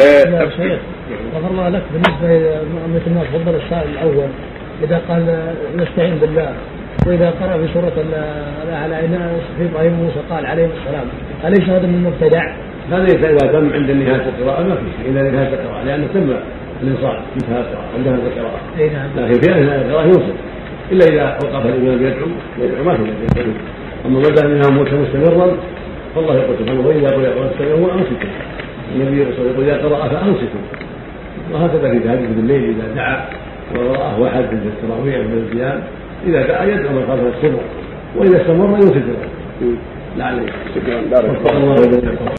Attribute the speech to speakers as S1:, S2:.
S1: يا شيخ غفر الله لك بالنسبه مثل ما تفضل السائل الاول اذا قال نستعين بالله واذا قرا في سوره على ناس في ابراهيم وموسى قال عليهم السلام اليس هذا من مبتدع؟
S2: هذا ليس اذا تم عند نهايه القراءه ما في شيء الا نهايه القراءه لانه تم الانصاف انتهى القراءه عند نهايه القراءه
S1: اي نعم
S2: لكن في اثناء القراءه ينصف الا اذا وقف الامام يدعو يدعو ما في يدعو اما ما دام منها موسى مستمرا فالله يقول سبحانه واذا قرئ القران فاستمعوا وانصتوا النبي صلى الله عليه وسلم يقول اذا قرأ فانصتوا وهكذا في تهجد بالليل اذا دعا وراه احد من التراويح او من القيام اذا دعا يدعو من خلفه السر واذا استمر ينصت لعله يستجيب.
S3: شكرا بارك الله
S2: وفق الله وجل